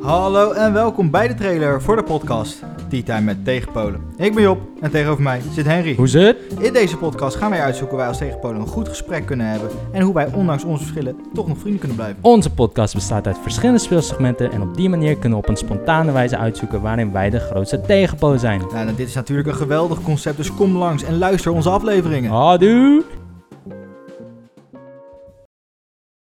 Hallo en welkom bij de trailer voor de podcast Tea Time met Tegenpolen. Ik ben Job en tegenover mij zit Henry. Hoe is het? In deze podcast gaan wij uitzoeken hoe wij als Tegenpolen een goed gesprek kunnen hebben en hoe wij ondanks onze verschillen toch nog vrienden kunnen blijven. Onze podcast bestaat uit verschillende speelsegmenten en op die manier kunnen we op een spontane wijze uitzoeken waarin wij de grootste tegenpolen zijn. Nou, nou, dit is natuurlijk een geweldig concept, dus kom langs en luister onze afleveringen. Adieu!